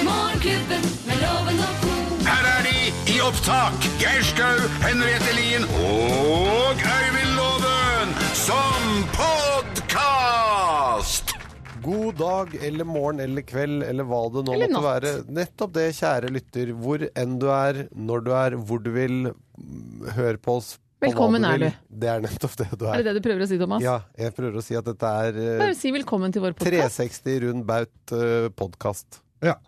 Morgenklubben med loven og ko. Her er de i opptak. Geir Skau, Henriette Lien og Øyvind Loven som podkast! God dag eller morgen eller kveld eller hva det nå Eller måtte natt. være. Nettopp det, kjære lytter. Hvor enn du er, når du er, hvor du vil, mm, hør på oss. på hva Velkommen er vil. du. Det er nettopp det du Er er. det det du prøver å si, Thomas? Ja, jeg prøver å si at dette er eh, Bare si velkommen til vår podkast. 360 rund baut eh, podkast. Ja.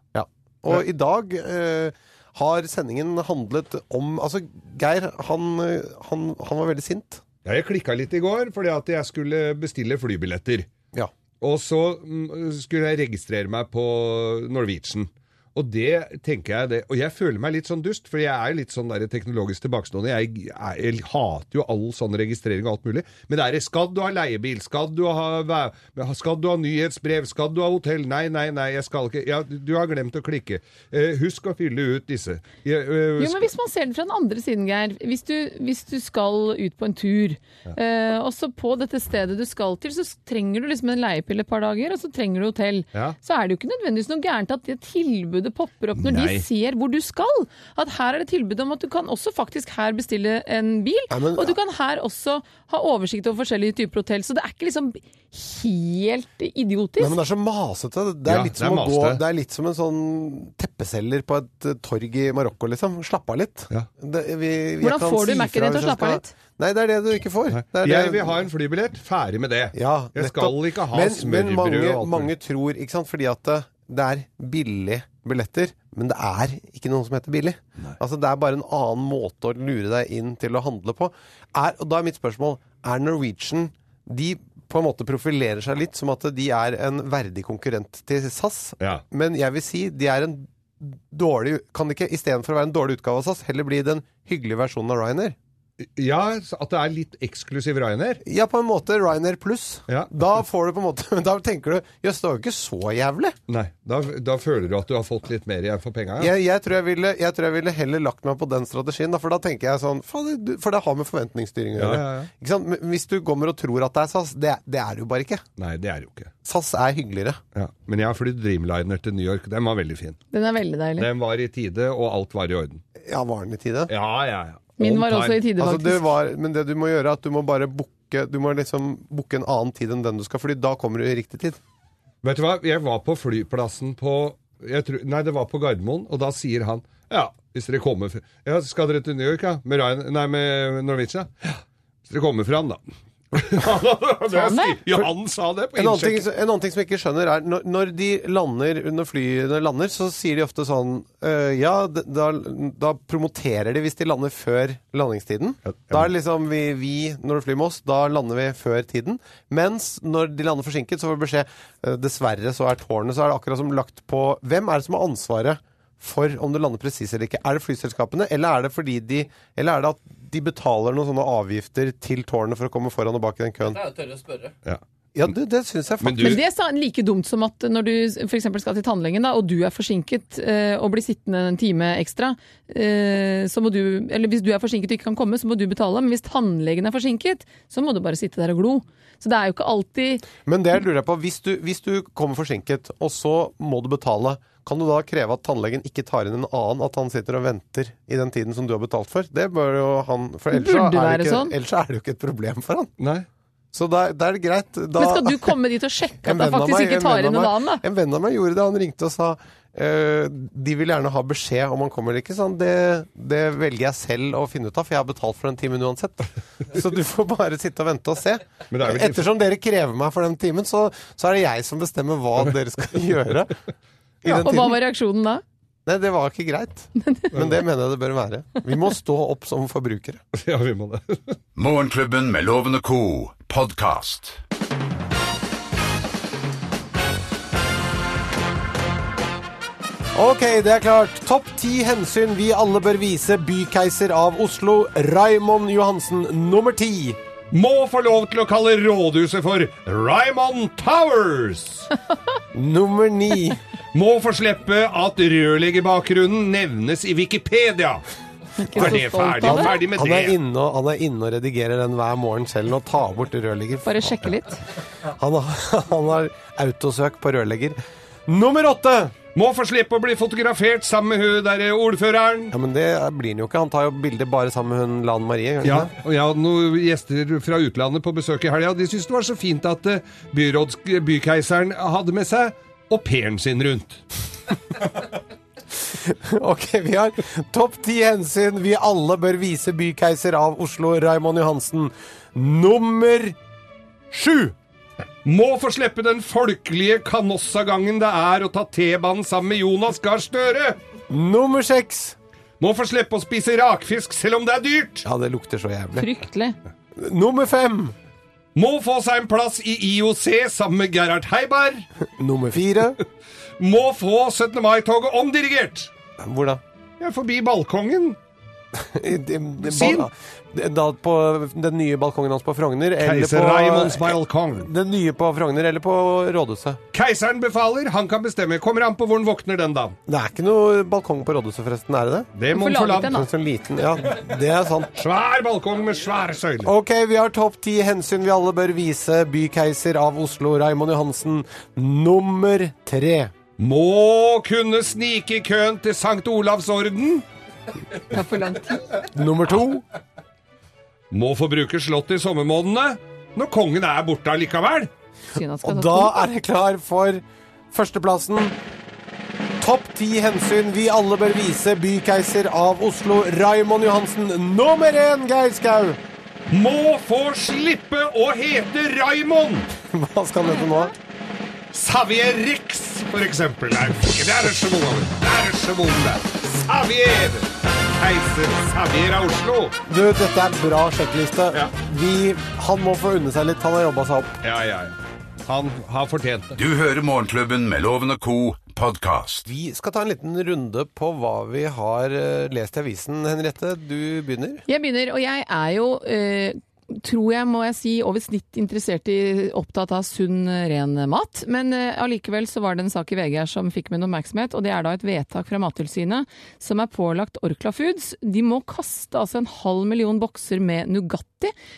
Og i dag eh, har sendingen handlet om Altså, Geir, han, eh, han, han var veldig sint. Ja, jeg klikka litt i går fordi at jeg skulle bestille flybilletter. Ja. Og så mm, skulle jeg registrere meg på Norwegian. Og det tenker jeg det. Og jeg føler meg litt sånn dust, for jeg er jo litt sånn der teknologisk tilbakestående. Jeg, jeg, jeg hater jo all sånn registrering og alt mulig. Men det er skal du ha leiebil, skal du ha, væ- skal du ha nyhetsbrev, skal du ha hotell? Nei, nei, nei, jeg skal ikke ja, Du har glemt å klikke. Eh, husk å fylle ut disse. Jeg, eh, Jo, men Hvis man ser det fra den andre siden, Geir. Hvis du, hvis du skal ut på en tur, eh, og så på dette stedet du skal til, så trenger du liksom en leiepille et par dager, og så trenger du hotell. Ja. Så er det jo ikke nødvendigvis noe gærent at det tilbudet popper opp når Nei. de ser hvor du skal. At her er det tilbud om at du kan også faktisk her bestille en bil, Nei, men- og du kan her også ha oversikt over forskjellige typer hotell. Så det er ikke liksom helt idiotisk. Nei, men det er så masete. Det er, Ja, litt det er som å gå, masete. det er litt som en sånn teppeselger på et eh, torg i Marokko, liksom. Slapp av litt. Ja. Det, vi, vi- jeg Hvordan kan får du si Mac-en fra din hvis til å jeg slappe av skal- litt? Nei, det er det du ikke får. Det er jeg det- vil ha en flybillett. Ferdig med det. ja, jeg skal nettopp. ikke ha men, smørbrød Men mange, og alt mulig. mange tror, ikke sant, fordi at det, det er billig billetter, men det er ikke noe som heter billig. Altså, det er bare en annen måte å lure deg inn til å handle på. Er, og da er mitt spørsmål, er Norwegian, de på en måte profilerer seg litt som at de er en verdig konkurrent til SAS, Ja. men jeg vil si de er en dårlig, kan det ikke, i stedet for å være en dårlig utgave av SAS, heller bli den hyggelige versjonen av Ryanair? Ja, så at det er litt eksklusiv Ryanair. Ja, på en måte Ryanair pluss. Ja. Da får du på en måte Da tenker du Jøss, det var jo ikke så jævlig. Nei, da, da føler du at du har fått litt mer igjen for penga. Ja. Jeg, jeg, tror jeg, ville, jeg tror jeg ville heller lagt meg på den strategien, da, for da tenker jeg sånn faen, du- For det har med forventningsstyring å Ja, gjøre. ja, ja. Ikke sant? Men hvis du kommer og tror at det er SAS, det, det er det jo bare ikke. Nei, det er det jo ikke. SAS er hyggeligere. Ja. Men jeg har flydd Dreamliner til New York. Den var veldig fin. Den er veldig deilig. Den var i tide, og alt var i orden. Ja, var den i tide? Ja, ja, ja. Min On var også i time. tide, Altså, faktisk. det var, men det du må gjøre, er at du må bare booke Du må liksom booke en annen tid enn den du skal, Fordi da kommer du i riktig tid. Vet du hva, jeg var på flyplassen på jeg tror, Nei, det var på Gardermoen, og da sier han Ja, hvis dere kommer fra Ja, skal dere til New York, ja? Med, Ryan, nei, med Norwegian? ja? Ja. Hvis dere kommer fram, da. Sa han det? Ja, han sa det på En annen, ting, innsjekk. en annen ting som jeg ikke skjønner er Når, når de lander under flyene lander, så sier de ofte sånn øh, Ja, d- da, da promoterer de hvis de lander før landingstiden. Ja, ja. Da er det liksom vi, vi, når du flyr med oss, da lander vi før tiden. Mens når de lander forsinket, så får vi beskjed øh, Dessverre så er tårnet Så er det akkurat som lagt på Hvem er det som har ansvaret for om du lander presis eller ikke? Er det flyselskapene, eller er det fordi de Eller er det at de betaler noen sånne avgifter til tårnet for å komme foran og bak i den køen? Det er jo tørre å spørre. Ja. Ja, det, det syns jeg Men faktisk. du, Men det er sa- like dumt som at når du f.eks. skal til tannlegen, da, og du er forsinket eh, og blir sittende en time ekstra, eh, så må du Eller hvis du er forsinket og ikke kan komme, så må du betale. Men hvis tannlegen er forsinket, så må du bare sitte der og glo. Så det er jo ikke alltid Men det jeg lurer jeg på, hvis du, hvis du kommer forsinket, og så må du betale, kan du da kreve at tannlegen ikke tar inn en annen, at han sitter og venter i den tiden som du har betalt for? Det bør jo han, for ellers, så Burde er, være det ikke, sånn. ellers så er det jo ikke et problem for han. Nei. Så da, da er det greit. Da, Men skal du komme dit og sjekke En venn at han av faktisk meg- ikke en tar venn av inn en meg- annen, da? En venn av meg gjorde det, han ringte og sa eh, de vil gjerne ha beskjed om han kommer eller ikke. Sånn, det, det velger jeg selv å finne ut av, for jeg har betalt for den timen uansett. Så du får bare sitte og vente og se. Men det er vel- Ettersom dere krever meg for den timen, så, så er det jeg som bestemmer hva dere skal gjøre. I den Og hva tiden. var reaksjonen da? Nei, det var ikke greit. Men det mener jeg det bør være. Vi må stå opp som forbrukere. Ja, vi må det. Morgenklubben med Loven og co. podkast. Ok, det er klart. Topp ti hensyn vi alle bør vise bykeiser av Oslo. Raimond Johansen, nummer ti. Må få lov til å kalle rådhuset for Raymond Towers! Nummer ni. Må få slippe at rørleggerbakgrunnen nevnes i Wikipedia! så Er det stolt ferdig? av det. Ferdig med Han er det! inne og, han er inne og redigerer den hver morgen selv og tar bort rørlegger. Bare sjekke litt. Han har, han har autosøk på rørlegger. Nummer åtte! Må få slippe å bli fotografert sammen med hun derre ordføreren. Ja, men det blir han jo ikke. Han tar jo bilder bare sammen med hun Lan Marie. gjør han Ja, ikke det? og jeg hadde noen gjester fra utlandet på besøk i helga, og de syntes det var så fint at eh, byråds, bykeiseren hadde med seg au pairen sin rundt. Ok, vi har topp ti hensyn vi alle bør vise bykeiser av Oslo, Raimond Johansen. Nummer sju! Må få slippe den folkelige kanossagangen det er å ta T-banen sammen med Jonas Gahr Støre! Nummer seks! Må få slippe å spise rakfisk selv om det er dyrt! Ja, det lukter så jævlig. Fryktelig. Nummer fem! Må få seg en plass i IOC sammen med Gerhard Heiberg! Nummer fire. Må få 17. mai-toget omdirigert! Hvor da? Jeg er forbi balkongen. I- i- i- Sin. bal- Da på den nye balkongen hans på Frogner. Eller Keiser Raimonds på, balkong. den nye på Frogner eller på Rådhuset. Keiseren befaler, han kan bestemme. Kommer an på hvor han våkner den dagen. Det er ikke noe balkong på Rådhuset, forresten. Er det det? Det må Hvorfor han få laget lov den da? En sånn liten Ja, det er sant. Svær balkong med svære søyler. Ok, vi har topp ti hensyn vi alle bør vise bykeiser av Oslo, Raimond Johansen. Nummer tre. Må kunne snike i køen til Sankt Olavs orden. Det er for lang tid. Nummer to. Må få bruke slottet i sommermånedene. Når kongen er borte allikevel. Synd han skal Og ta da to. er jeg klar for førsteplassen. Topp ti hensyn vi alle bør vise bykeiser av Oslo, Raimond Johansen. Nummer én, Geir Skau! Må få slippe å hete Raymond. Hva skal han hete nå? Xavier Rix, for eksempel. Nei, det er det svole. Det er det svole. Xavier. Keiser Xavier av Oslo. Du, dette er en bra sjekkliste. Ja. Vi, han må få unne seg litt. Han har jobba seg opp. Ja, ja, ja. Han har fortjent det. Du hører Morgenklubben med Loven og Co. podkast. Vi skal ta en liten runde på hva vi har eh, lest i avisen, Henriette. Du begynner. Jeg begynner, og jeg er jo eh, tror jeg, må jeg si, over snitt interessert i opptatt av sunn, eh, ren mat. Men eh, allikevel så var det en sak i VG her som fikk min oppmerksomhet, og det er da et vedtak fra Mattilsynet som er pålagt Orkla Foods. De må kaste altså en halv million bokser med Nugatti.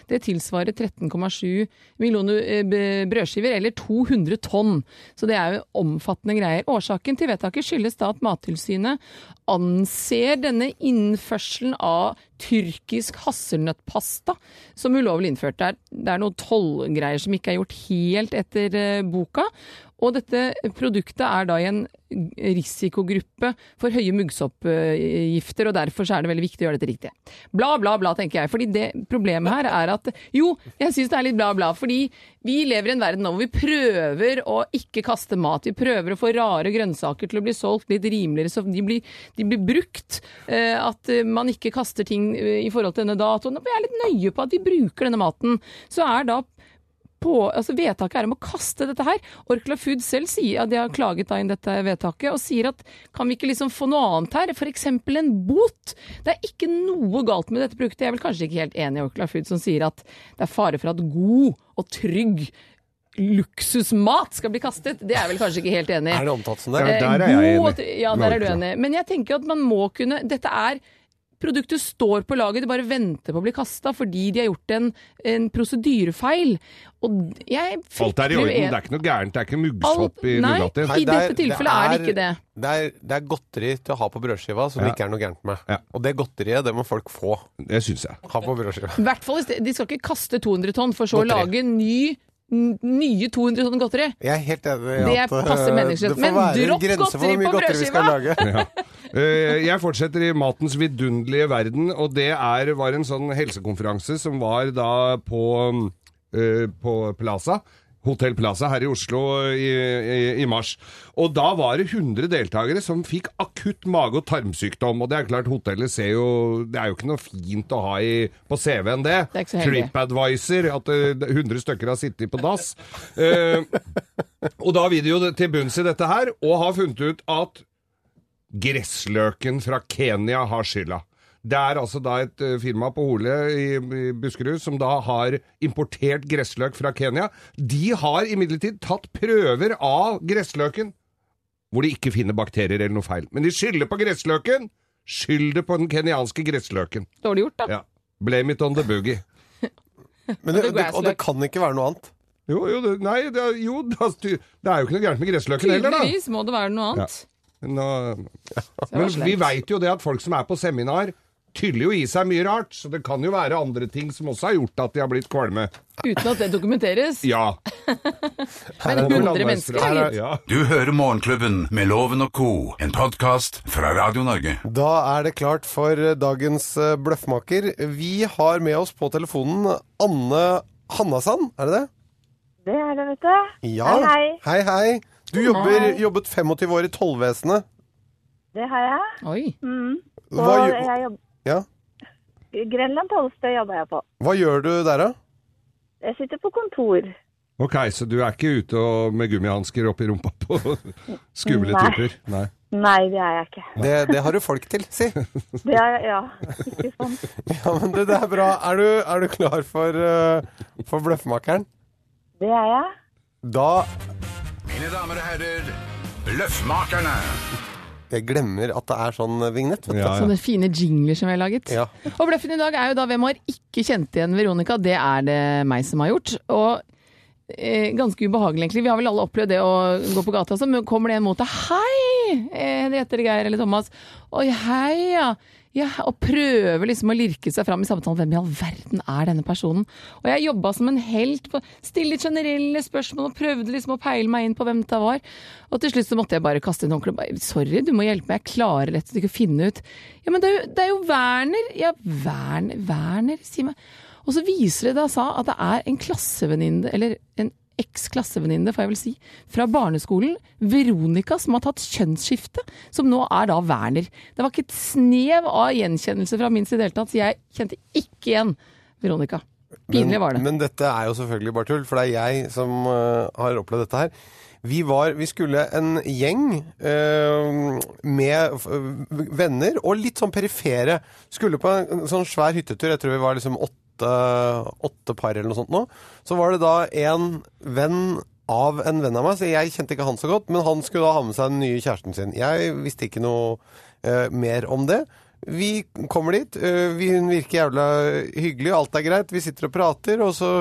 Det tilsvarer 13,7 millioner eh, b- brødskiver, eller 200 tonn. Så det er jo omfattende greier. Årsaken til vedtaket skyldes da at Mattilsynet anser denne innførselen av tyrkisk hasselnøttpasta som ulovlig innført. Det er, det er noen tollgreier som ikke er gjort helt etter eh, boka. Og dette produktet er da i en risikogruppe for høye muggsoppgifter, og derfor så er det veldig viktig å gjøre dette riktig. Bla, bla, bla, tenker jeg. Fordi det problemet her er at Jo, jeg syns det er litt bla, bla. Fordi vi lever i en verden nå hvor vi prøver å ikke kaste mat. Vi prøver å få rare grønnsaker til å bli solgt litt rimeligere, så de blir, de blir brukt. Eh, at eh, man ikke kaster ting eh, i forhold til denne datoen. Vi er litt nøye på at vi bruker denne maten. Så er da på, altså vedtaket er om å kaste dette her. Orkla Food selv sier at de har klaget da inn dette vedtaket, og sier at kan vi ikke liksom få noe annet her, f.eks. en bot? Det er ikke noe galt med dette produktet. Jeg er vel kanskje ikke helt enig i Orkla Food som sier at det er fare for at god og trygg luksusmat skal bli kastet. Det er jeg vel kanskje ikke helt enig i. Er det omtalt som det? Ja, Eh, der er jeg god- enig. Ja, der er du Merkelig. enig. Men jeg tenker at man må kunne Dette er Produktet står på laget, det bare venter på å bli kasta fordi de har gjort en, en prosedyrefeil. Og jeg Alt er i frykter orden. en- Det er ikke noe gærent. Det er ikke Alt- muggsopp i nei. Nugatti. I dette tilfellet er det ikke det. Det er, det er godteri til å ha på brødskiva som det ikke Ja. er noe gærent med. Ja. Og det godteriet, det må folk få Det syns jeg. ha på brødskiva. I hvert fall, i sted- De skal ikke kaste 200 tonn, for så å Godteri. lage ny, n- nye 200 tonn godteri. Jeg er helt enig i Det at eh, passer menneskelig. det får Men være en dropp grense for godteri hvor mye på godteri vi skal lage. Ja. Eh, Jeg fortsetter i matens vidunderlige verden, og det er, var en sånn helsekonferanse som var da på, eh, på Plaza. Hotell Plaza her i Oslo i, i, i mars. Og da var det 100 deltakere som fikk akutt mage- og tarmsykdom. Og det er klart, hotellet ser jo Det er jo ikke noe fint å ha i, på CV-en, det. Det er ikke så heldig. TripAdvisor, at eh, 100 stykker har sittet på dass. Eh, og da vil de jo til bunns i dette her, og har funnet ut at Gressløken fra Kenya har skylda. Det er altså da et eh, firma på Hole i i Buskerud som da har importert gressløk fra Kenya. De har imidlertid tatt prøver av gressløken, hvor de ikke finner bakterier eller noe feil. Men de skylder på gressløken. Skyld det på den kenyanske gressløken. Dårlig gjort, da. Ja. Blame it on the boogie. Men det, Og det det, og det gressløk. kan kan ikke være noe annet. Jo, jo, det, nei, det, er- jo, da, stu- det er jo ikke noe gærent med gressløken heller, da. Tydeligvis må det være noe annet. Nå, var eh, men vi slemt. veit jo det at folk som er på seminar, tyller jo i seg mye rart. Så det kan jo være andre ting som også har gjort at de har blitt kvalme. Uten at det dokumenteres. Ja. Men 100 mennesker, da, gitt. Ja. Du hører Morgenklubben med Loven og Co., en podkast fra Radio Norge. Da er det klart for eh, dagens eh, bløffmaker. Vi har med oss på telefonen Anne Hannasand, er det det? Det er det, vet du. Ja. Hei, hei. Hei, hei. Du jobber, jobbet 25 år i tollvesenet. Det har jeg. Oi. Og Hva, gjø- jeg jobb... ja. Grenland tollsted jobber jeg på. Hva gjør du der, da? Jeg sitter på kontor. Ok, så du er ikke ute og med gummihansker oppi rumpa på skumle Nei. typer? Nei. Nei, det er jeg ikke. Det, det har du folk til, si. Det er jeg, ja. Ikke sånn. Ja, men det, det er bra. Er du, er du klar for, eh, for bløffmakeren? Det er jeg. Da Mine damer og herrer, Løffmakerne. Jeg glemmer at det er sånn vignett. Vet du. Ja, ja. Sånne fine jingler som vi har laget. Ja. Og bløffen i dag er jo da hvem har ikke kjent igjen Veronica? Det er det meg som har gjort. Og eh, ganske ubehagelig, egentlig. Vi har vel alle opplevd det å gå på gata, så kommer det en mot deg. Hei! Eh, Henriette eller Geir eller Thomas. Oi, hei, ja. Ja, og prøver liksom å lirke seg fram i samtalen. Hvem i all verden er denne personen? Og jeg jobba som en helt på Stille generelle spørsmål og prøvde liksom å peile meg inn på hvem det var. Og til slutt så måtte jeg bare kaste inn håndkleet og bare Sorry, du må hjelpe meg. Jeg klarer rett og slett ikke å finne ut Ja, men det er jo, det er jo Werner. Ja, Werner, Werner, si meg. Og så viser det da sa at det er en klassevenninne, eller en eks-klassevenninne, får jeg vel si, fra barneskolen, Veronica, som har tatt kjønnsskifte, som nå er da Werner. Det var ikke et snev av gjenkjennelse fra min side i det hele tatt, så jeg kjente ikke igjen Veronica. Pinlig var det. Men dette er jo selvfølgelig bare tull, for det er jeg som øh, har opplevd dette her. Vi, var, vi skulle en gjeng øh, med f- øh, venner og litt sånn perifere. Skulle på en, en sånn svær hyttetur. Jeg tror vi var liksom åtte, åtte par eller noe sånt nå. Så var det da en venn av en venn av meg, så jeg kjente ikke han så godt, men han skulle da ha med seg den nye kjæresten sin. Jeg visste ikke noe eh, mer om det. Vi kommer dit, eh, vi, hun virker jævla hyggelig, alt er greit, vi sitter og prater, og så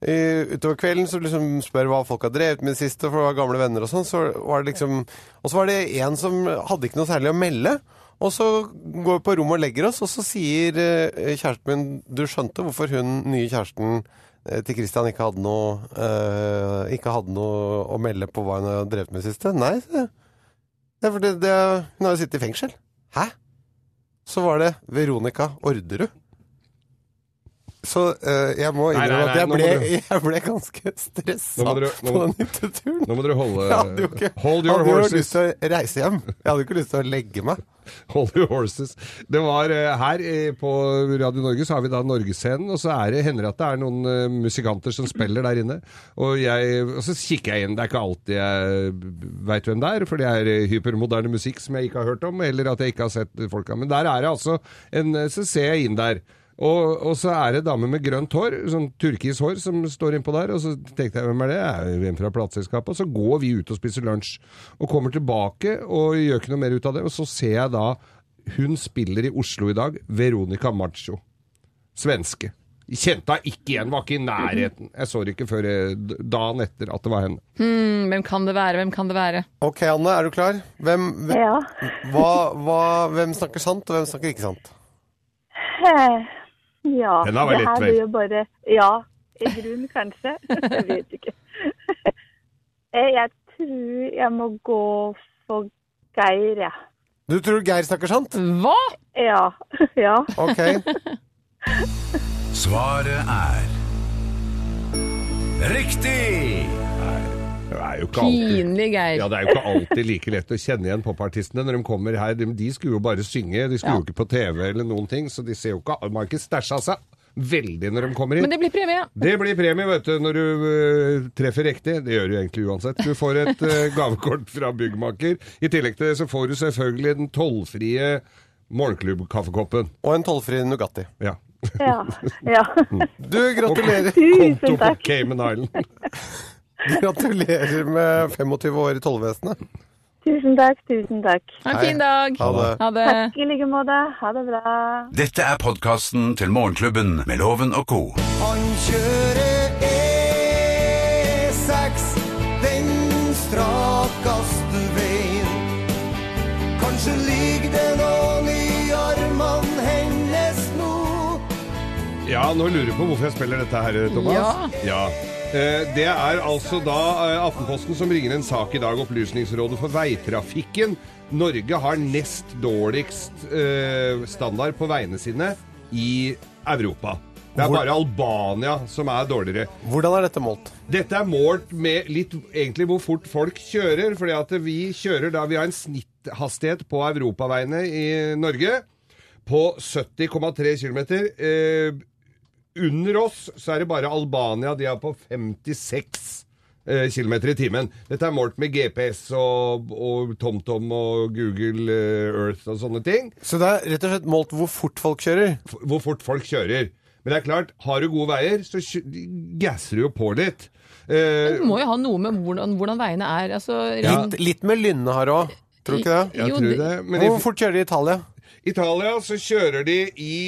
eh, utover kvelden så liksom spør hva folk har drevet med i det siste, for det var gamle venner og sånn, så var det liksom Og så var det en som hadde ikke noe særlig å melde. Og så går vi på rommet og legger oss, og så sier eh, kjæresten min Du skjønte hvorfor hun nye kjæresten eh, til Christian ikke hadde noe eh, Ikke hadde noe å melde på hva hun har drevet med i det siste? Nei, sa jeg. Det er fordi det, hun har jo sittet i fengsel. Hæ? Så var det Veronica Orderud. Så eh, jeg må Nei, nei, innrømme at nei, jeg nå må ble, du- jeg ble ganske stressa Nå må på du- nå den må- hytteturen. Nå må dere holde Jeg hadde jo ikke, Hold your hadde jo lyst horses. til å reise hjem. Jeg hadde jo ikke lyst til å legge meg. Hold your horses. Det var eh, her eh, på Radio Norge så har vi da Norgesscenen, og så er det, hender det at det er noen eh, musikanter som spiller der inne. Og, jeg, og så kikker jeg inn. Det er ikke alltid jeg veit hvem det er, for det er eh, hypermoderne musikk som jeg ikke har hørt om, eller at jeg ikke har sett folka. Men der er det altså en eh, Så ser jeg inn der. Og, og så er det dame med grønt hår, sånn turkis hår, som står innpå der. Og så tenkte jeg hvem er det? Er det en fra plateselskapet? Og så går vi ut og spiser lunsj. Og kommer tilbake og gjør ikke noe mer ut av det. Og så ser jeg da hun spiller i Oslo i dag, Veronica Macho. Svenske. Kjente henne ikke igjen, var ikke i nærheten. Jeg så det ikke før eh, d- dagen etter at det var henne. Mm, Hvem kan det være, hvem kan det være? Ok, Anne, er du klar? Hvem, hvem, Ja. hva, hva, hvem snakker sant, og hvem snakker ikke sant? Eh, Ja. Den der var det lett, her vel? blir jo bare Ja. I grunn, kanskje. Jeg vet ikke. Eh, Jeg tror jeg må gå for Geir, jeg. Du tror Geir snakker sant? Hva?! Ja. Ja. Ok. Svaret er Riktig! Det er jo ikke alltid Pinlig, Geir. ja, Det er jo ikke alltid like lett å kjenne igjen popartistene når de kommer her. De, de skulle jo bare synge, de skulle jo ikke på TV eller noen ting, så de ser jo ikke Man har ikke stæsja seg veldig når de kommer Men inn. det blir premie. Det blir premie, vet du, når du eh, treffer riktig. Det gjør du egentlig uansett. Du får et eh, gavekort fra byggmaker. I tillegg til det så får du selvfølgelig den tollfrie morgenklubb-kaffekoppen. Og en tollfri Nugatti. Ja. Ja. ja. Du, gratulerer, Tusen Konto på takk. Cayman Island. gratulerer med 25 år i tollvesenet. Tusen takk. Tusen takk. Ha en fin dag. Ha det. Ha det. Takk i like måte. Ha det bra. Dette er podkasten til Morgenklubben med Loven og co. Han kjører E6 Den strakkaste veien så ligger det noen i armene hennes nå. Ja, nå lurer du på hvorfor jeg spiller dette her, Thomas. Ja. Eh, Det er altså da eh, Aftenposten som bringer en sak i dag, Opplysningsrådet for veitrafikken. Norge har nest dårligst eh, standard på veiene sine i Europa. Det er Hvor- bare Albania som er dårligere. Hvordan er dette målt? Dette er målt med litt egentlig hvor fort folk kjører, fordi at vi kjører da vi har en snitthastighet på europaveiene i Norge på 70,3 km. Eh, under oss så er det bare Albania, de er på 56 km i timen. Dette er målt med GPS og, og TomTom og Google eh, Earth og sånne ting Så det er rett og slett målt hvor fort folk kjører? f- hvor fort folk kjører. Men det er klart, har du gode veier, så kjø- gasser du jo på litt. Eh, Det må jo ha noe med hvordan, hvordan veiene er. Altså, Ja. Litt, litt med lynne her òg, tror du ikke det? jeg jo, tror det- det. Men i Hvor fort kjører de i Italia? Italia så kjører de i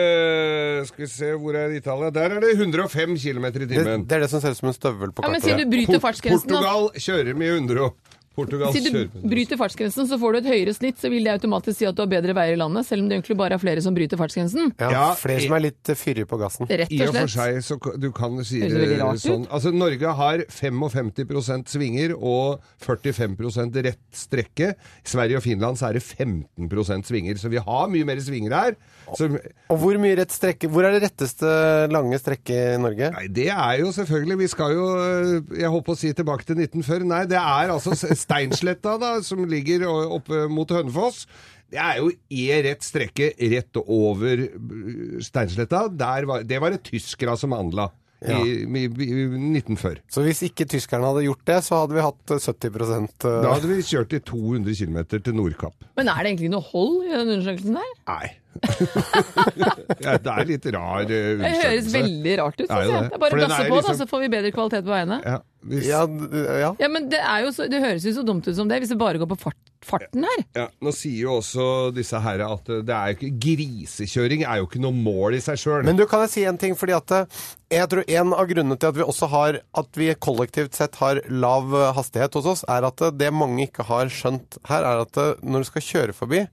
eh, Skal vi se, hvor er Italia? Der er det 105 km i Det, timen. det er det som ser ut som en støvel på Ja, men kartet. si du bryter Port- fartsgrensen, altså. da. Portugal kjører med 100 og Portugal Si du kjører med bryter fartsgrensen, så får du et høyere snitt, så vil det automatisk si at du har bedre veier i landet, selv om det egentlig bare er flere som bryter fartsgrensen. Ja, Ja, flere som er litt eh, fyrige på gassen. Rett I og og for slett. seg, så k- du kan si Høres det, veldig rart ut. sånn. Altså, Norge har 55 svinger og 45 rett strekke. I Sverige og Finland så er det 15 svinger, så vi har mye mer svinger her. Så, Og hvor mye rett strekke Hvor er det retteste lange strekket i Norge? nei, det er jo selvfølgelig Vi skal jo, øh, jeg håper å si tilbake til 1940. Nei, det er altså s- Steinsletta, da, som ligger øh, oppe mot Hønefoss. Det er jo én rett strekke rett over øh, Steinsletta. Der var, det var det tyskere som handla. Ja. I, i, i 1940. Så hvis ikke tyskerne hadde gjort det, så hadde vi hatt eh, 70 eh, Da hadde vi kjørt i 200 km til Nordkapp. Men er det egentlig noe hold i den undersøkelsen der? Nei. ja, det er litt rar eh, Det høres undersøkelse. veldig rart ut, Er syns jo jeg. det. Det er bare For å den gasse er på, da, liksom- så får vi bedre kvalitet på veiene. Ja, hvis, ja. Ja, d- ja. Ja, men det, er jo så, det høres jo så dumt ut som det, hvis det bare går på fart, farten her. Nå sier jo også disse herre at eh, det er jo ikke, grisekjøring er jo ikke noe mål i seg sjøl. Men du, kan jeg si en ting? Fordi at eh, jeg tror en av grunnene til at vi også har At vi kollektivt sett har lav eh, hastighet hos oss, er at eh, det mange ikke har skjønt her, er at eh, når du skal kjøre forbi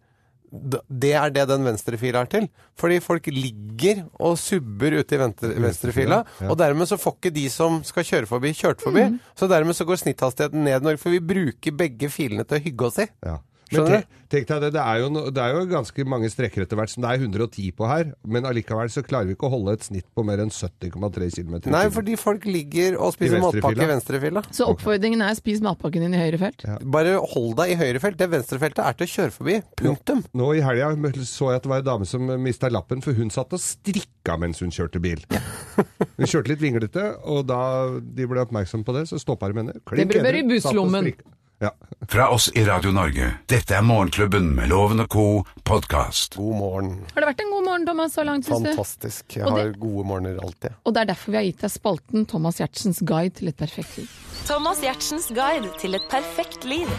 d- det er det den venstrefila er til. Fordi folk ligger og subber ute i venstre- venstrefila. Og dermed så får ikke de som skal kjøre forbi, kjørt forbi. Så dermed så går snitthastigheten ned i Norge, for vi bruker begge filene til å hygge oss i. Ja. Men Skjønner tenk, tenk deg det, det er, jo no, det er jo ganske mange strekker etter hvert som det er 110 på her, men allikevel så klarer vi ikke å holde et snitt på mer enn 70,3 km. Nei, fordi folk ligger og I spiser venstrefila. matpakke i venstrefila. Så oppfordringen er spis matpakken din i høyre felt. Bare hold deg i høyrefelt. Det venstrefeltet er til å kjøre forbi. Punktum. Nå i helga så jeg at det var ei dame som mista lappen, for hun satt og strikka mens hun kjørte bil. Hun kjørte litt vinglete, og da de ble oppmerksom på det, så stoppa de henne. Klink Det bør være i edru, satt og busslommen. strikka. Ja. Fra oss i Radio Norge. Dette er Morgenklubben med Loven og Co. podkast. God morgen. Har det vært en god morgen, Thomas, så langt, syns du? Fantastisk. Jeg Og har det- gode morgener alltid. Og det er derfor vi har gitt deg spalten Thomas Giertsens guide til et perfekt liv. Thomas Gjertsens guide til et perfekt liv.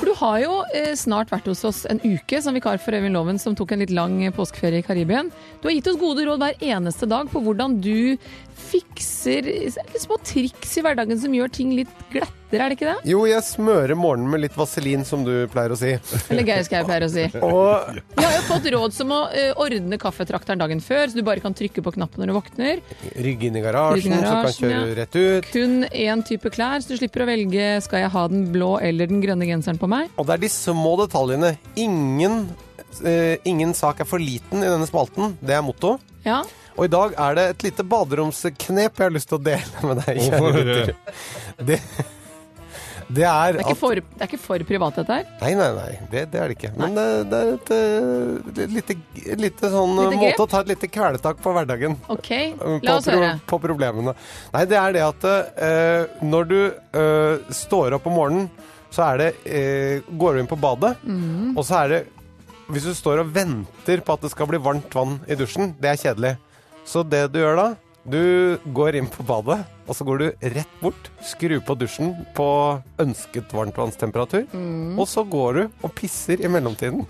For du har jo eh, snart vært hos oss en uke som vikar for Øyvind Loven, som tok en litt lang eh, påskeferie i Karibien. Du har gitt oss gode råd hver eneste dag på hvordan du fikser eh, små triks i hverdagen som gjør ting litt glattere, er det ikke det? Jo, jeg smører morgenen med litt vaselin, som du pleier å si. Eller Geir Skau pleier å si. Og Vi har jo fått råd som å eh, ordne kaffetrakteren dagen før, så du bare kan trykke på knappen når du våkner. rygge inn i garasjen, Rygg inn i så kan garasjen, kjøre rett ut. Kun én type klær, så du slipper å velge skal jeg ha den blå eller den grønne genseren på meg. Og det er de små detaljene. Ingen, eh, ingen sak er for liten i denne spalten. Det er motto. Ja, Og i dag er det et lite baderomsknep jeg har lyst til å dele med deg. Å, kjære få høre. lytter. Det, det er det er, at ikke for, det er ikke for privat dette her. Nei, nei, nei. Det, det er det ikke. Men det, det er et, eh, et lite, et lite sånn Lite eh, grep? måte å ta et lite kvelertak på hverdagen. Ok, eh, la På, oss høre. på problemene. Nei, det er det at eh, når du eh, står opp om morgenen, så er det eh, Går du inn på badet, Mhm. og så er det Hvis du står og venter på at det skal bli varmt vann i dusjen, det er kjedelig. Så det du gjør da Du går inn på badet, og så går du rett bort, skrur på dusjen på ønsket varmtvannstemperatur, og så går du og pisser i mellomtiden.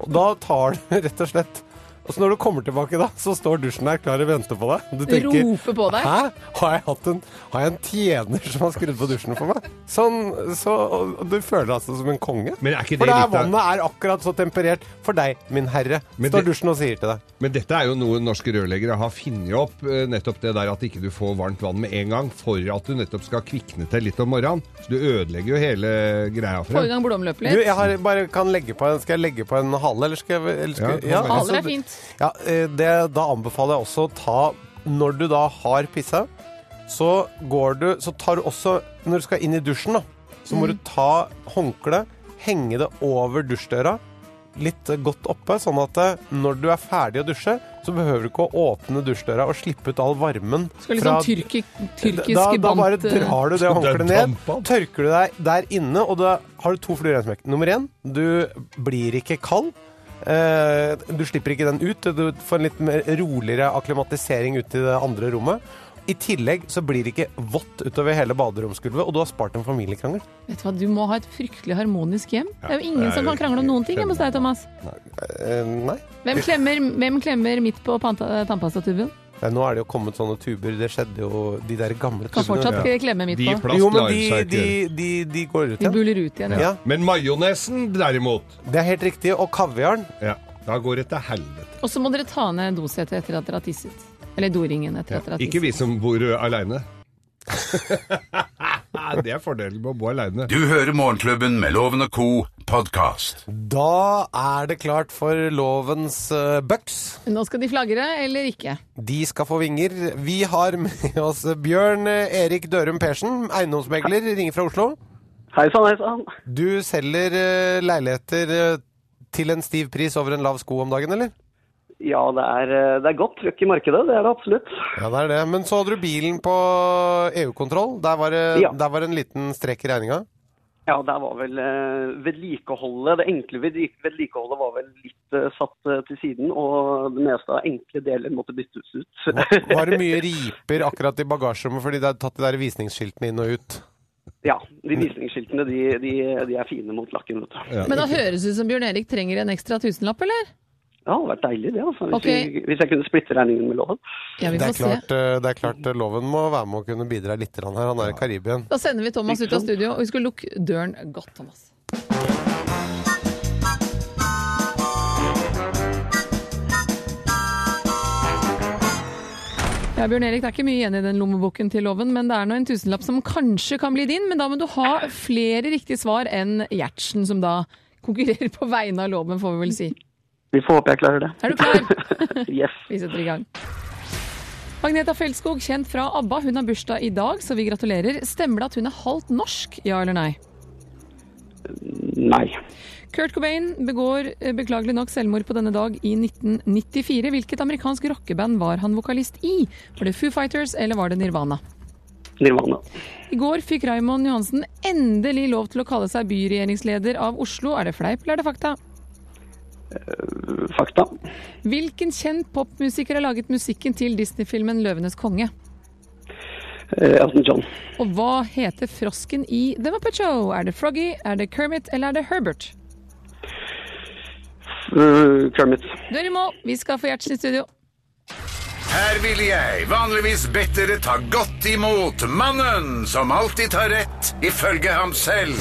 Og da tar du rett og slett Og så når du kommer tilbake da, så står dusjen der klar og venter på deg. Du Roper på deg. Hæ? Har jeg, hatt en, har jeg en tjener som har skrudd på dusjen for meg? Sånn, så, og du føler deg altså som en konge. Men er ikke det for det her litt av- vannet er akkurat så temperert for deg, min herre, Men står det- dusjen og sier til deg. Men dette er jo noe norske rørleggere har funnet opp. eh, Nettopp det der at ikke du får varmt vann med en gang for at du nettopp skal kvikne til litt om morgenen. Så du ødelegger jo hele greia for Få i dem. gang Du, blodomløpet litt. jeg har, bare kan legge på en, skal jeg legge på en hale, eller skal jeg... Eller skal, Ja, ja, hale. Haler altså, er fint. Ja, eh, det, da anbefaler jeg også å ta Når du da har pissa, så går du Så tar du også Når du skal inn i dusjen, da, så Mm. må du ta håndkle, henge det over dusjdøra, litt eh, godt oppe, sånn at eh, når du er ferdig å dusje, så behøver du ikke å åpne dusjdøra og slippe ut all varmen Skal liksom tyrki, tyrkisk da, da bare bant eh, drar du det håndkleet ned, dampen. tørker du deg der inne, og da har du to fluer i en smekk. Nummer én, du blir ikke kald. Eh, du slipper ikke den ut. Du får en litt mer roligere akklimatisering ut i det andre rommet. I tillegg så blir det ikke vått utover hele baderomsgulvet, og du har spart en familiekrangel. Vet du hva, du må ha et fryktelig harmonisk hjem. Det er jo det ingen er som jo kan krangle om noen ting hjemme hos deg, Thomas. Eh, nei. Hvem klemmer, hvem klemmer midt på panta- tannpastatuben? Eh, Nå er det jo kommet sånne tuber. Det skjedde jo de der gamle Kan fortsatt tubene. klemme midt De på. plast Jo, men lar de, seg ikke de, gjøre. de, de går ut De igjen. buler ut igjen. Ja, Men majonesen, derimot, det er helt riktig. Og kaviaren ja, da går det til helvete. Og så må dere ta ned dosetet etter at dere har tisset. Eller doringen etter at dere har Ikke tisset. vi som bor aleine. det er fordelen med å bo aleine. Du hører Morgenklubben med Loven og Co. podkast. Da er det klart for lovens eh, bucks. Nå skal de flagre, eller ikke. De skal få vinger. Vi har med oss Bjørn eh, Erik Dørum Persen, eiendomsmegler, ringer fra Oslo. Hei sann, hei sann. Du selger eh, leiligheter eh, til en stiv pris over en lav sko om dagen, eller? Ja, det er, eh, det er godt trøkk i markedet, det er det absolutt. Ja, det er det. Men så hadde du bilen på EU-kontroll. Der, var det- Ja. der var det en liten strek i regninga. Ja, der var vel eh, vedlikeholdet, det enkle vedli- vedlikeholdet var vel litt eh, satt eh, til siden, og det meste av enkle deler måtte byttes ut. Var det mye riper akkurat i bagasjerommet fordi de hadde tatt de der visningsskiltene inn og ut? ja, de visningsskiltene, de, de, de er fine mot lakken, vet du. Ja, Men da høres det ut som Bjørn Erik trenger en ekstra tusenlapp, eller? det hadde vært deilig det, altså. Hvis, Ok. jeg, hvis jeg kunne splitte regningen med loven. Ja, vi Det er, får se. klart, eh, det er klart eh, loven må være med å kunne bidra litt grann her. Han er i Karibien. Da sender vi Thomas ut av studio, og vi skal lukke døren godt, Thomas. Ja, Bjørn Erik, Det er ikke mye igjen i den lommeboken til loven, men det er nå en tusenlapp som kanskje kan bli din. Men da må du ha flere riktige svar enn Gjertsen, som da konkurrerer på vegne av loven, får vi vel si. Vi får håpe jeg klarer det. Er du klar? Yes. Vi setter i gang. Agneta Fjeldskog, kjent fra ABBA, hun har bursdag i dag, så vi gratulerer. Stemmer det at hun er halvt norsk, ja eller nei? Nei. Kurt Cobain begår eh, beklagelig nok selvmord på denne dag i 1994. Hvilket amerikansk rockeband var han vokalist i? Var det Foo Fighters, eller var det Nirvana? Nirvana. I går fikk Raymond Johansen endelig lov til å kalle seg byregjeringsleder av Oslo. Er det fleip, eller er det fakta? Fakta. Hvilken kjent popmusiker har laget musikken til Disney-filmen 'Løvenes konge'? Eh, Elton John. Og hva heter frosken i The Muppet Show? Er det Froggy, er det Kermit eller er det Herbert? Eh, Kermit. Du er i mål. Vi skal få Gjertsen i studio. Her ville jeg vanligvis bedt dere ta godt imot mannen som alltid tar rett, ifølge ham selv.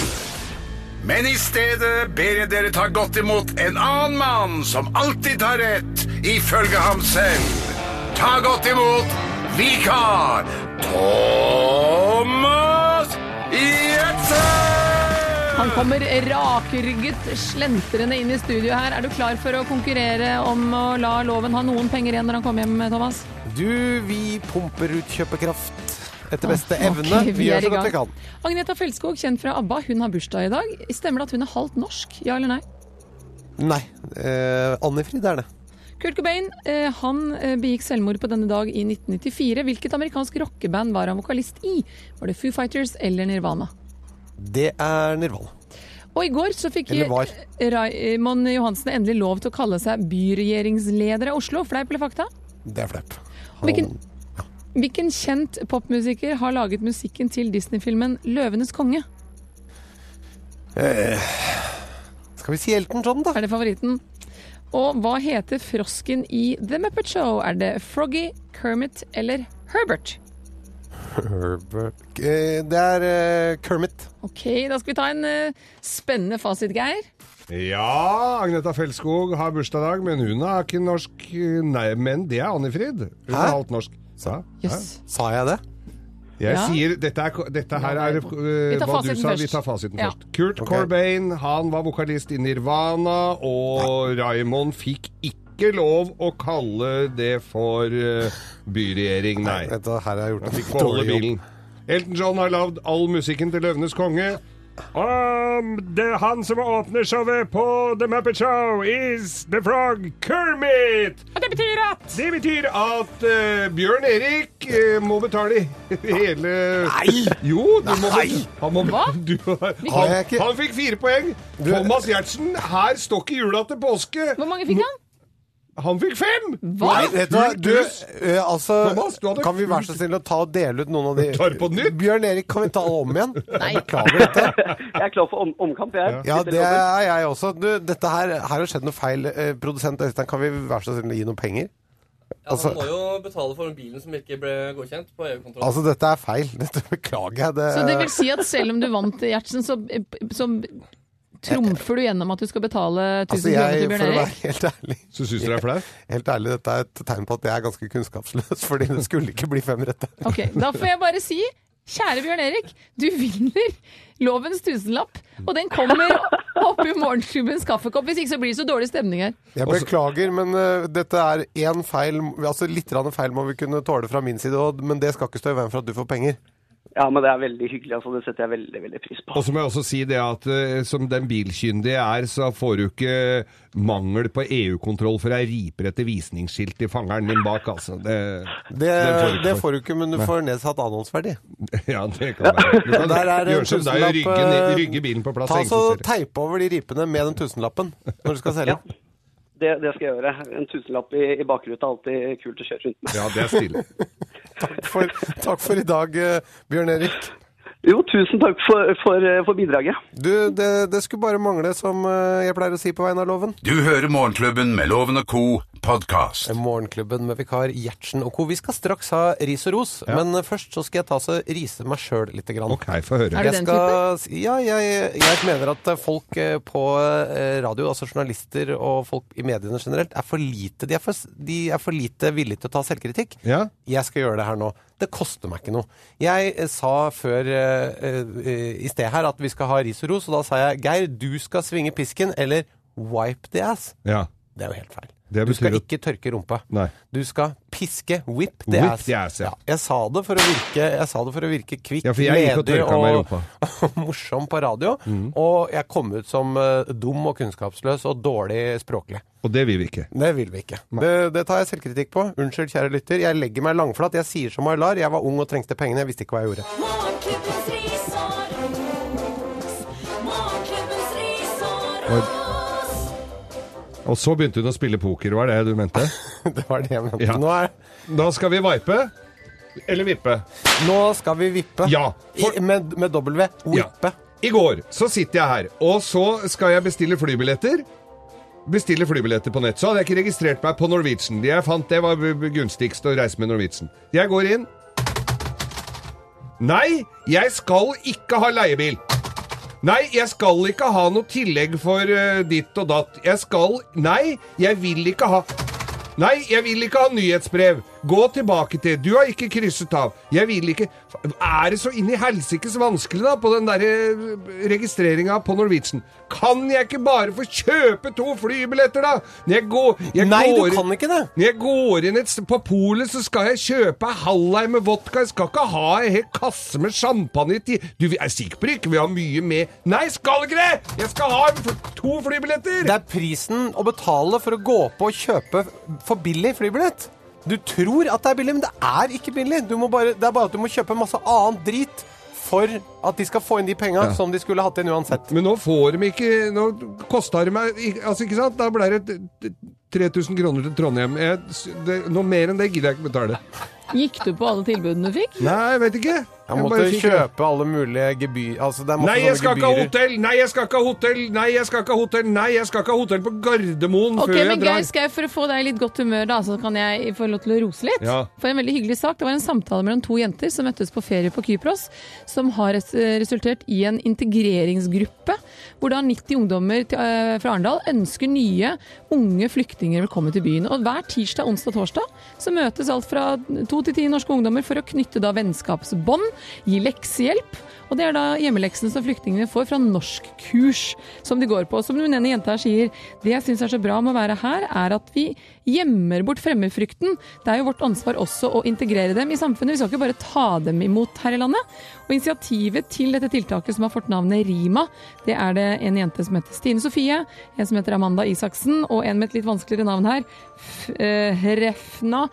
Men i stedet ber jeg dere ta godt imot en annen mann som alltid tar rett, ifølge ham selv. Ta godt imot vikar Thomas Gjertsen! Han kommer rakrygget, slentrende inn i studio her. Er du klar for å konkurrere om å la loven ha noen penger igjen når han kommer hjem, Thomas? Du, vi pumper ut kjøpekraft etter beste Ok, evne. Vi, gjør er i så godt vi gang. kan. Agneta Fjeldskog, kjent fra ABBA, hun har bursdag i dag. Stemmer det at hun er halvt norsk? Ja eller nei? Nei. Eh, Annifrid er det. Kurt Cobain eh, han eh, begikk selvmord på denne dag i 1994. Hvilket amerikansk rockeband var han vokalist i? Var det Foo Fighters eller Nirvana? Det er Nirvana. Og i går så fikk Eller var. Raymond Johansen endelig lov til å kalle seg byregjeringsleder av Oslo. Fleip eller fakta? Det er fleip. Og Hvilken, hvilken kjent popmusiker har laget musikken til Disney-filmen 'Løvenes konge'? Eh, Skal vi si Elton John, da? Er det favoritten? Og hva heter frosken i The Muppet Show? Er det Froggy, Kermit eller Herbert? Herbert Eh, Det er eh, Kermit. Ok, da skal vi ta en eh, spennende fasit, Geir. Ja, Agneta Fellskog har bursdag, men hun er ikke norsk. Nei, men det er Annifrid. Hun Hæ? er halvt norsk. Ja, ja. Jøss. Sa jeg det? Jeg Ja. sier, dette, er, dette her er øh, Vi tar hva du fasiten sa. Vi først. tar fasiten Ja. først. Kurt Ok. Corbain han var vokalist i Nirvana, og Raymond fikk ikke lov å kalle det for øh, byregjering, nei. Dette her har jeg gjort Fikk en beholde dårlig jobb. bilen. Elton John har lagd all musikken til Løvenes konge. Um, det er han som åpner showet på The Muppet Show, is The Frog Kermit! Og det betyr at Det betyr at eh, Bjørn Erik eh, må betale hele Nei! Jo, du må Nei! Han, må, Hva? du, han, Har jeg ikke- han fikk fire poeng. Thomas Giertsen, her står ikke jula til påske. Hvor mange fikk han? Han fikk fem! Hva? Nei, vet du hva? Du, Pluss. eh, altså, Thomas, du hadde- kan vi være så snille å ta og dele ut noen av de tar på nytt? Bjørn Erik, kan vi ta alle om igjen? Nei. Beklager dette. Jeg er klar for om omkamp, jeg. Ja, Sitter det klar. er jeg også. Du, dette her, her har skjedd noe feil. Eh, Produsent Øystein, kan vi være så snille å gi noen penger? Ja, Altså- han må jo betale for den bilen som ikke ble godkjent på EU-kontroll. Altså, dette er feil. Dette beklager jeg. Så det vil si at selv om du vant, Gjertsen, så, eh, så trumfer du gjennom at du skal betale 1000 Altså, kroner jeg, til for Bjørn å Erik? være helt ærlig, Så syns du det er flaut? helt ærlig, dette er et tegn på at jeg er ganske kunnskapsløs, fordi det skulle ikke bli fem rette. Ok, Da får jeg bare si, kjære Bjørn Erik, du vinner lovens tusenlapp. Og den kommer opp i morgensklubbens kaffekopp. Hvis ikke så blir det så dårlig stemning her. Jeg beklager, men eh, dette er én feil Altså litt grann feil må vi kunne tåle fra min side, og, men det skal ikke stå i veien for at du får penger. Ja, men det er veldig hyggelig. altså. Det setter jeg veldig veldig pris på. Og så må jeg også si det at eh, som den bilkyndige er, så får du ikke mangel på EU-kontroll for ei riper etter visningsskilt i fangeren din bak, altså. Det, Det, Den får du ikke det for. får du ikke, men du får nedsatt annonsverdi. ja, det kan være. Du kan Der er det en gjøre som deg og rygge, tusenlapp, ned- eh, rygge bilen på plass. Ta og så enkelt ser. Teip over de ripene med den tusenlappen når du skal selge. den. Det, det skal jeg gjøre. En tusenlapp i, i bakruta er alltid kult å kjøre rundt med. Ja, det er stille. Takk, for, takk for i dag, eh, Bjørn Erik. Jo, tusen takk for, for, eh, for bidraget. Du, det, det skulle bare mangle, som eh, jeg pleier å si på vegne av loven. Du hører Morgenklubben med Loven og co. podkast. Morgenklubben med vikar Gjertsen og co. Vi skal straks ha ris og ros, men eh, først så skal jeg ta så rise meg sjøl lite grann. Ok, få høre. Er du Jeg den skal, si- ja, jeg, jeg mener at folk eh, på eh, radio, altså journalister og folk i mediene generelt, er for lite, de er for, s- de er for lite villige til å ta selvkritikk. Ja. Jeg skal gjøre det her nå. Det koster meg ikke noe. Jeg eh, sa før eh, eh, i sted her at vi skal ha ris og ros, og da sa jeg Geir, du skal svinge pisken, eller wipe the ass. ja. Det er jo helt feil. Det Du skal betyr at- ikke tørke rumpa. Nei. Du skal piske. Whip the Whip ass. the ass, ja. jeg, sa det for å virke, jeg sa det for å virke kvikk, Ja, for jeg gikk og ledig tørka meg i rumpa. og morsom på radio. Og jeg kom ut som eh, dum og kunnskapsløs og dårlig språklig. Og det vil vi ikke. Det vil vi ikke. Det, det tar jeg selvkritikk på. Unnskyld, kjære lytter. Jeg legger meg langflat. Jeg sier som Aylar. Jeg var ung og trengte pengene. Jeg visste ikke hva jeg gjorde. Morgenklubbens ris og ros. Morgenklubbens ris og Oi. ros. Og så begynte hun å spille poker, var det du mente? Det var det jeg mente. Ja. Nå, er, Da skal vi vipe. Eller vippe. nå skal vi vippe. Ja, for- I, med, med W. Vippe. I går så sitter jeg her, og så skal jeg bestille flybilletter. Bestille flybilletter på nett. Så hadde jeg ikke registrert meg på Norwegian. Det jeg fant, det var b- b- gunstigst å reise med Norwegian. Jeg går inn. Nei, jeg skal ikke ha leiebil. Nei, jeg skal ikke ha noe tillegg for eh, ditt og datt. Jeg skal Nei, jeg vil ikke ha Nei, jeg vil ikke ha nyhetsbrev. Gå tilbake til Du har ikke krysset av. Jeg vil ikke Er det så inn i helsikes vanskelig, da, på den derre registreringa på Norwegian? Kan jeg ikke bare få kjøpe to flybilletter, da? Når jeg går jeg Nei, går, du kan ikke det! når jeg går inn et, s- på polet, så skal jeg kjøpe ei halvlei med vodka. Jeg skal ikke ha ei hel kasse med champagne i ti... Du, vi er sikker på det ikke? Vi har mye med Nei, skal ikke det! Jeg skal ha en fl- to flybilletter! Det er prisen å betale for å gå på og kjøpe for billig flybillett. Du tror at det er billig, men det er ikke billig. Du må bare, det er bare at du må kjøpe masse annen drit for at de skal få inn de penga som de skulle hatt inn uansett. Men nå får de ikke Nå kosta det meg ikke- Altså, ikke sant? Da ble det t- t- 3000 kroner til Trondheim. Jeg, s- det, noe mer enn det gidder jeg ikke betale. Gikk du på alle tilbudene du fikk? Nei, jeg vet ikke. Jeg Jeg måtte bare fikk- kjøpe alle mulige gebyr... Altså, det er masse Nei, jeg sånne skal ikke ha gebyrer. hotell! Nei, jeg skal ikke ha hotell! Nei, jeg skal ikke ha hotell! Nei, jeg skal ikke ha hotell på Gardermoen Ok, før jeg men drar! Geir, skal jeg For å få deg i litt godt humør, da, så kan jeg få lov til å rose litt. Ja. For en veldig hyggelig sak. Det var en samtale mellom to jenter som møttes på ferie på Kypros, som har res- resultert i en integreringsgruppe, hvor da 90 ungdommer til, eh, fra Arendal ønsker nye unge flyktninger velkommen til byen. Og hver tirsdag, onsdag og torsdag så møtes alt fra to til ti norske ungdommer for å knytte da vennskapsbånd, gi leksehjelp. Og det er da hjemmeleksen som flyktningene får fra norskkurs som de går på. Som hun ene jenta her sier, det jeg syns er så bra med å være her, er at vi gjemmer bort fremmedfrykten. Det er jo vårt ansvar også å integrere dem i samfunnet. Vi skal ikke bare ta dem imot her i landet. Og initiativet til dette tiltaket som har fått navnet RIMA, det er det en jente som heter Stine Sofie, en som heter Amanda Isaksen, og en med et litt vanskeligere navn her, F eh, Hrefna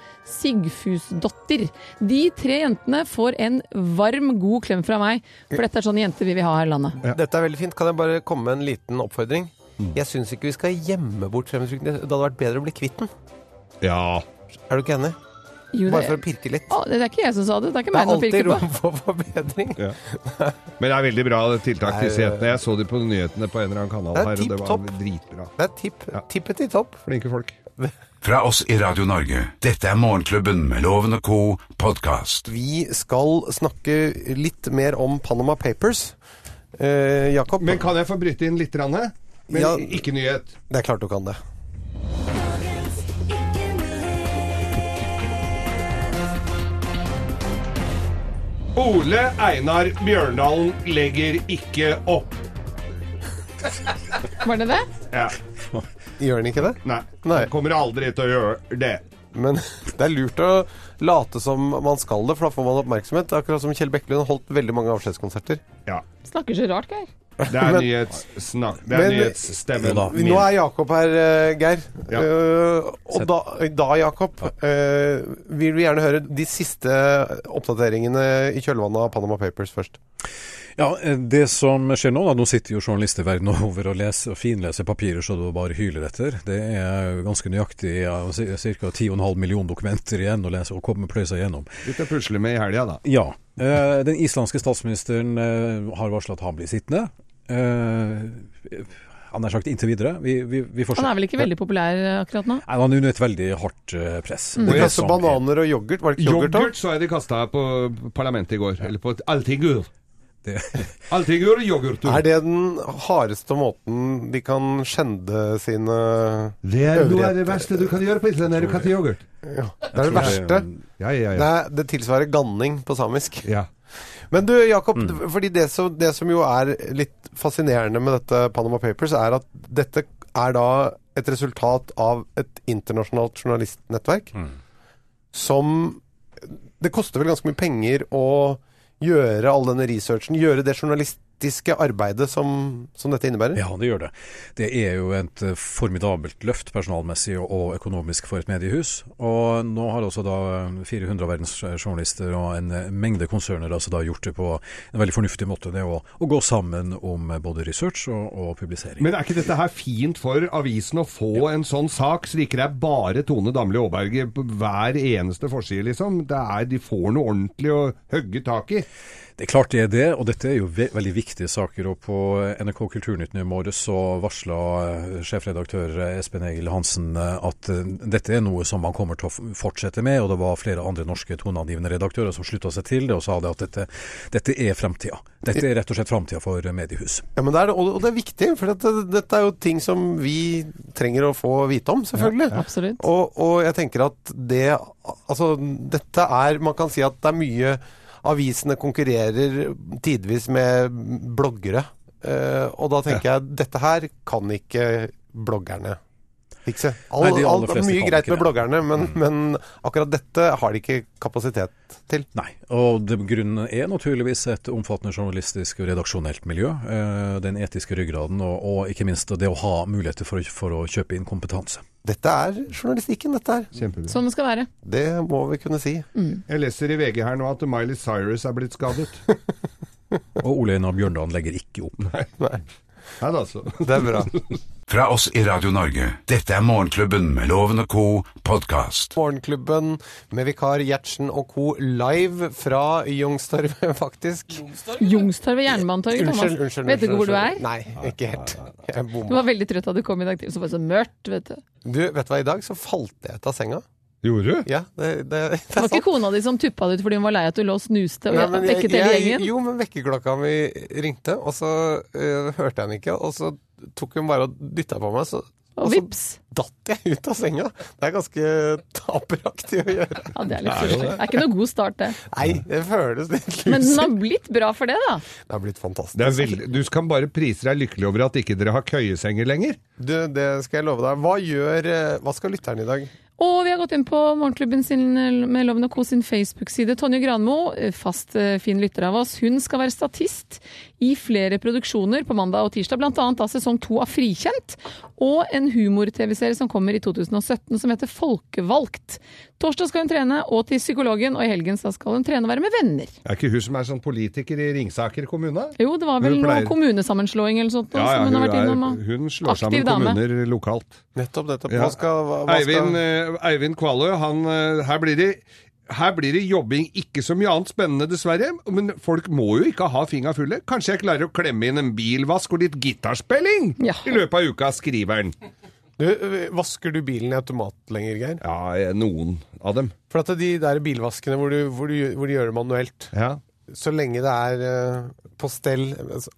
Sigfusdottir. De tre jentene får en varm, god klem fra meg, for dette er sånne jenter vi vil ha her i landet. Dette er veldig fint. Kan jeg bare komme med en liten oppfordring? Mm. Jeg syns ikke vi skal gjemme bort fremmedfrykten. Det hadde vært bedre å bli kvitt den. Ja. Er du ikke enig? Jo, Bare det- for å pirke litt. Å, det er ikke jeg som sa det, det er Det ikke meg er noe å pirke alltid på. rom for forbedring. Ja. Men det er veldig bra det tiltak, Nei, disse det- jentene. Jeg så de på nyhetene på en eller annen kanal Det er her, og det var tipp-topp. dritbra. Det er tipp, tippet i topp. Flinke folk. Fra oss i Radio Norge, dette er Morgenklubben med Loven og Co. podkast. Vi skal snakke litt mer om Panama Papers. Eh, Jakob, Men kan jeg få bryte inn litt? Ranne? Men Ja. ikke nyhet. det er klart du kan det. Ole Einar Bjørndalen legger ikke opp. Var det det? Ja. Gjør den ikke det? Nei. Nei. Han kommer aldri til å gjøre det. Men det er lurt å late som man skal det, for da får man oppmerksomhet. Akkurat som Kjell Bekkelund holdt veldig mange avskjedskonserter. Ja. Snakker så rart, Geir. Det er nyhetssnakk. Det er Men- nyhetsstemmen min. Nå er Jakob her, eh, Geir. Ja. Eh, og da, da Jakob, eh, vil vi gjerne høre de siste oppdateringene i kjølvannet av Panama Papers først. Ja, eh, det som skjer nå, da, nå sitter jo journalister verden over og leser og finleser papirer så du bare hyler etter. Det er ganske nøyaktig ja, ca. 10,5 millioner dokumenter igjen å lese og komme pløye seg gjennom. Litt å pusle med i helga, da. Ja. eh, Den islandske statsministeren eh, har varsla at han blir sittende. Eh, Han er sagt inntil videre. Vi, vi, vi får se. Han er vel ikke veldig populær eh, akkurat nå? Nei, Han er under et veldig hardt eh, press. De Det er kastet som- bananer og yoghurt. Var det ikke yoghurt, da? Yoghurt så jeg de kasta på parlamentet i går. Eller på et Altigur. Det- Altigur og yoghurtur. Er det den hardeste måten de kan skjende sine Det er noe av øvrigheter det verste du kan gjøre på Island, er å kaste yoghurt. ja. Det er det tror det er- verste. Ja, ja, Det, ja. er, det tilsvarer ganning på samisk. ja. Men du, Jakob. Fordi det som, det som jo er litt fascinerende med dette Panama Papers, er at dette er da et resultat av et internasjonalt journalistnettverk som Det koster vel ganske mye penger å gjøre all denne researchen, gjøre det journalistiske arbeidet som, som dette innebærer? Ja, det gjør det. Det er jo et eh, formidabelt løft personalmessig og- og økonomisk for et mediehus. Og nå har også da eh, 400 av verdens journalister og en eh, mengde konserner altså da gjort det på en veldig fornuftig måte. Det å, å gå sammen om eh, både research og, og publisering. Men er ikke dette her fint for avisen å få en sånn sak, så det ikke er bare Tone Damli Aaberge på hver eneste forside, liksom? Det er, de får noe ordentlig å hogge tak i. Det er klart det er det, og dette er jo ve veldig viktige saker. og På NRK Kulturnytt nå i morges så varsla eh, sjefredaktør eh, Espen Egil Hansen eh, at eh, dette er noe som man kommer til å f- fortsette med. og Det var flere andre norske toneangivende redaktører som slutta seg til det og sa det at dette, dette er fremtida. Dette er rett og slett fremtida for eh, mediehus. Ja, men det er, og og det er viktig, for dette, dette er jo ting som vi trenger å få vite om, selvfølgelig. Absolutt. Og, og jeg tenker at det Altså, dette er Man kan si at det er mye Avisene konkurrerer tidvis med bloggere. Eh, og da tenker jeg dette her kan ikke bloggerne fikse. All, Nei, de aller all, det er fleste mye kan greit ikke med det. Mm. bloggerne, men, men akkurat dette har de ikke kapasitet til. Nei, og det, grunnen er naturligvis et omfattende journalistisk og redaksjonelt miljø. eh, Den etiske ryggraden, og, og ikke minst det å ha muligheter for å, for å kjøpe inn kompetanse. Dette er journalistikken, dette her. Kjempebra. Sånn det skal være. Det må vi kunne si. Jeg leser i VG her nå at Miley Cyrus er blitt skadet. Og Ole Einar Bjørndalen legger ikke opp. Nei da, altså. Det er bra. Fra oss i Radio Norge, dette er Morgenklubben med Loven og co. podkast. Morgenklubben med vikar Gjertsen og co. live fra Youngstorget, faktisk. Jungstorget, Jernbanetorget, Thomas. Unnskyld, unnskyld. vet du ikke hvor du er? unnskyld. Nei, ikke helt. Jeg Du bomma. var veldig trøtt da du kom i dag tidlig, så var det så mørkt, vet du. Du, vet du hva, i dag så falt jeg ut av senga. Gjorde du? Ja, det, det, det Det er var sant. ikke kona di som tuppa deg ut fordi hun var lei at du lå og snuste og Nei, men jeg- vekket hele jeg- gjengen? Jo, men vekkerklokka mi ringte, og så eh, hørte jeg den ikke. Og så tok hun bare og dytta på meg, så, og, vips. så datt jeg ut av senga. Det er ganske taperaktig å gjøre. Ja, det er litt surt. Det er ikke noe god start, det. Nei, det føles litt lurt. Men den har blitt bra for det, da. Det har blitt fantastisk. Det er veldig- du kan bare prise deg lykkelig over at ikke dere har køyesenger lenger. Du, det skal jeg love deg. Hva gjør eh, Hva skal lytteren i dag? Og vi har gått inn på Morgenklubben sin, eh, med Loven og Co. sin Facebook-side. Tonje Granmo, fast eh, fin lytter av oss, hun skal være statist i flere produksjoner på mandag og tirsdag, blant annet da sesong to av Frikjent, og en humor-tv-serie som kommer i 2017 som heter Folkevalgt. Torsdag skal hun trene, og til psykologen, og i helgen så skal hun trene og være med venner. Er ikke hun som er sånn politiker i Ringsaker kommune? Jo, det var vel Hun noe pleier- kommunesammenslåing eller sånt da, Ja, ja, som hun hun, har vært innom. og- er, hun slår sammen Aktiv dame. kommuner lokalt. Nettopp, nettopp. Ja. Hva skal, hva, hva Eivind, skal... eh, Eivind Kvalø, han, eh, her, blir det, her blir det jobbing. Ikke så mye annet spennende, dessverre. Men folk må jo ikke ha fingra fulle. Kanskje jeg klarer å klemme inn en bilvask og litt gitarspilling i løpet av uka, skriver han. Du, eh, vasker du bilen i automat lenger, Geir? Ja, eh, noen av dem. For at de der bilvaskene hvor du, hvor du, hvor du gjør det manuelt Ja. Så lenge det er eh, på stell altså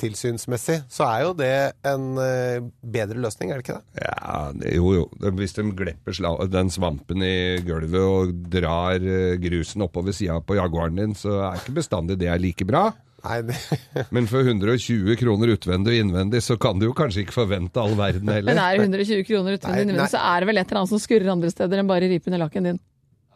arbeidstilsynsmessig, så er jo det en eh, bedre løsning, er det ikke det? Ja, det- jo jo. De- Hvis de glepper sla- den svampen i gulvet og drar eh, grusen oppover sida på Jaguaren din, så er ikke bestandig det er like bra. Nei, Men for 120 kroner utvendig og innvendig, så kan du jo kanskje ikke forvente all verden heller. Men er det 120 kroner utvendig Nei, innvendig, nei. så er det vel et eller annet som skurrer andre steder enn bare i ripen i lakken din.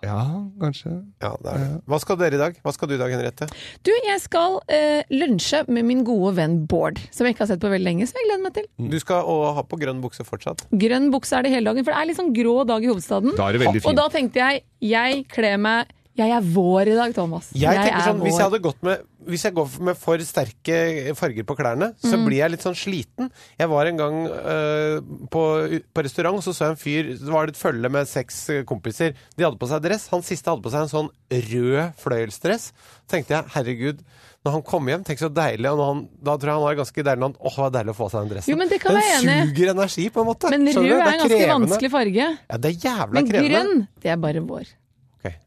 Ja, kanskje. Ja, det er det. Hva skal dere i dag? Hva skal du i dag, Henriette? Du, jeg skal eh, lunsje med min gode venn Bård, som jeg ikke har sett på veldig lenge, som jeg gleder meg til. Du skal å, ha på grønn bukse fortsatt. Grønn bukse er det hele dagen, for det er litt sånn grå dag i hovedstaden. Da er det veldig fint. Og da tenkte jeg, jeg kler meg Jeg er vår i dag, Thomas. Jeg, tenker er sånn, hvis jeg, hadde gått med, hvis jeg går med for sterke farger på klærne, så Mm. blir jeg litt sånn sliten. Jeg var en gang eh, på, på restaurant, så så jeg en fyr Det var et følge med seks eh, kompiser. De hadde på seg dress. Han siste hadde på seg en sånn rød fløyelsdress. tenkte jeg, herregud, når han kom hjem, tenk så deilig. Og når han, da tror jeg han var ganske deilig. når han- Åh, det var deilig å få seg den dressen. Jo, men det kan den være enig. suger energi, på en måte. Men Skjønner du? Det rød er en ganske krevende. vanskelig farge. Ja, det er jævla Men krevende. grønn, det er bare vår.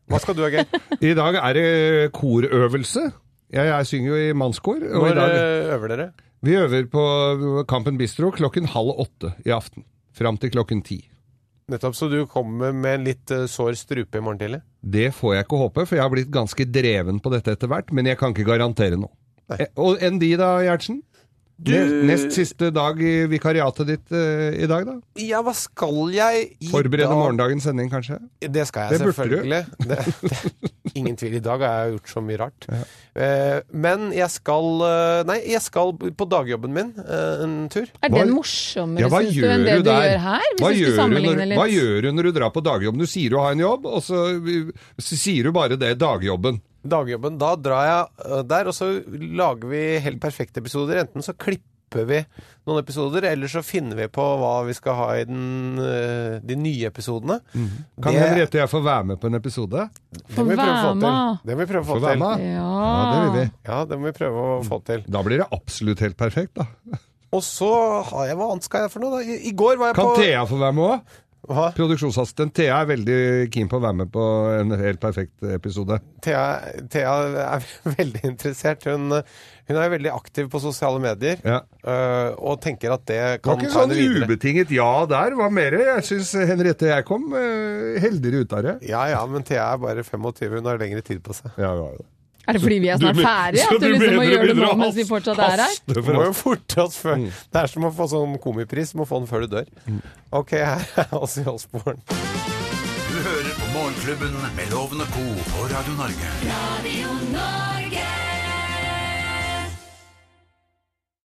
Hva skal du ha, Geir? I dag er det korøvelse. Jeg, jeg synger jo i mannskor. Og i Når dag, eh, øver dere? vi øver på Kampen Bistro klokken halv åtte i aften. Fram til klokken ti. Nettopp, så du kommer med en litt eh, sår strupe i morgen tidlig? Det får jeg ikke håpe, for jeg har blitt ganske dreven på dette etter hvert, men jeg kan ikke garantere noe. Eh, Og enn de da, Gjertsen? Nest, nest siste dag i vikariatet ditt eh, i dag, da? Ja, hva skal jeg i Forberede dag? morgendagens sending, kanskje? Det skal jeg Det burde du. selvfølgelig. Det, det, ingen tvil. I dag har jeg gjort så mye rart. Eh, men jeg skal eh, Nei, jeg skal på dagjobben min eh, en tur. Er den morsommere, Ja, hva synes du, gjør enn det du du der? gjør her? Hvis Hva du gjør, skulle du når, sammenligne litt. hva gjør du når du drar på dagjobb? Du sier du har en jobb, og så, så sier du bare det, dagjobben. Dagjobben. Da drar jeg eh, der, og så lager vi helt perfekte episoder. Enten så klipper vi noen episoder, eller så finner vi på hva vi skal ha i den, eh, de nye episodene. Mhm. Kan Det- Henriette og jeg få være med på en episode? Det må vi prøve å få til. Det må vi prøve å få Få være til. med? Ja, det vil vi. Ja, det må vi prøve å få til. Da blir det absolutt helt perfekt, da. Mm. Og så har jeg Hva annet skal jeg for noe, da? I, i går var jeg Kan på Thea få være med òg? Produksjonsassistent Thea er veldig keen på å være med på en helt perfekt episode. Thea, Thea er veldig interessert. Hun, hun er veldig aktiv på sosiale medier øh, og tenker at det Det var kan ikke ta sånn henne videre. ubetinget ja der. Hva mer? Jeg syns Henriette og jeg kom eh, heldigere ut av det. Ja ja, men Thea er bare 25, hun har lengre tid på seg. Ja, ja, ja. Er det fordi vi er Du snart men- ferdige? så At du du liksom må mener du gjøre det nå begynner å mens vi fortsatt er her? Du må jo forte oss før. Mm. Det er som å få sånn komipris, du må få den før du dør. Ok, her er oss i Osborne. Du hører på Morgenklubben med Loven og co. på Radio Norge. Radio Norge.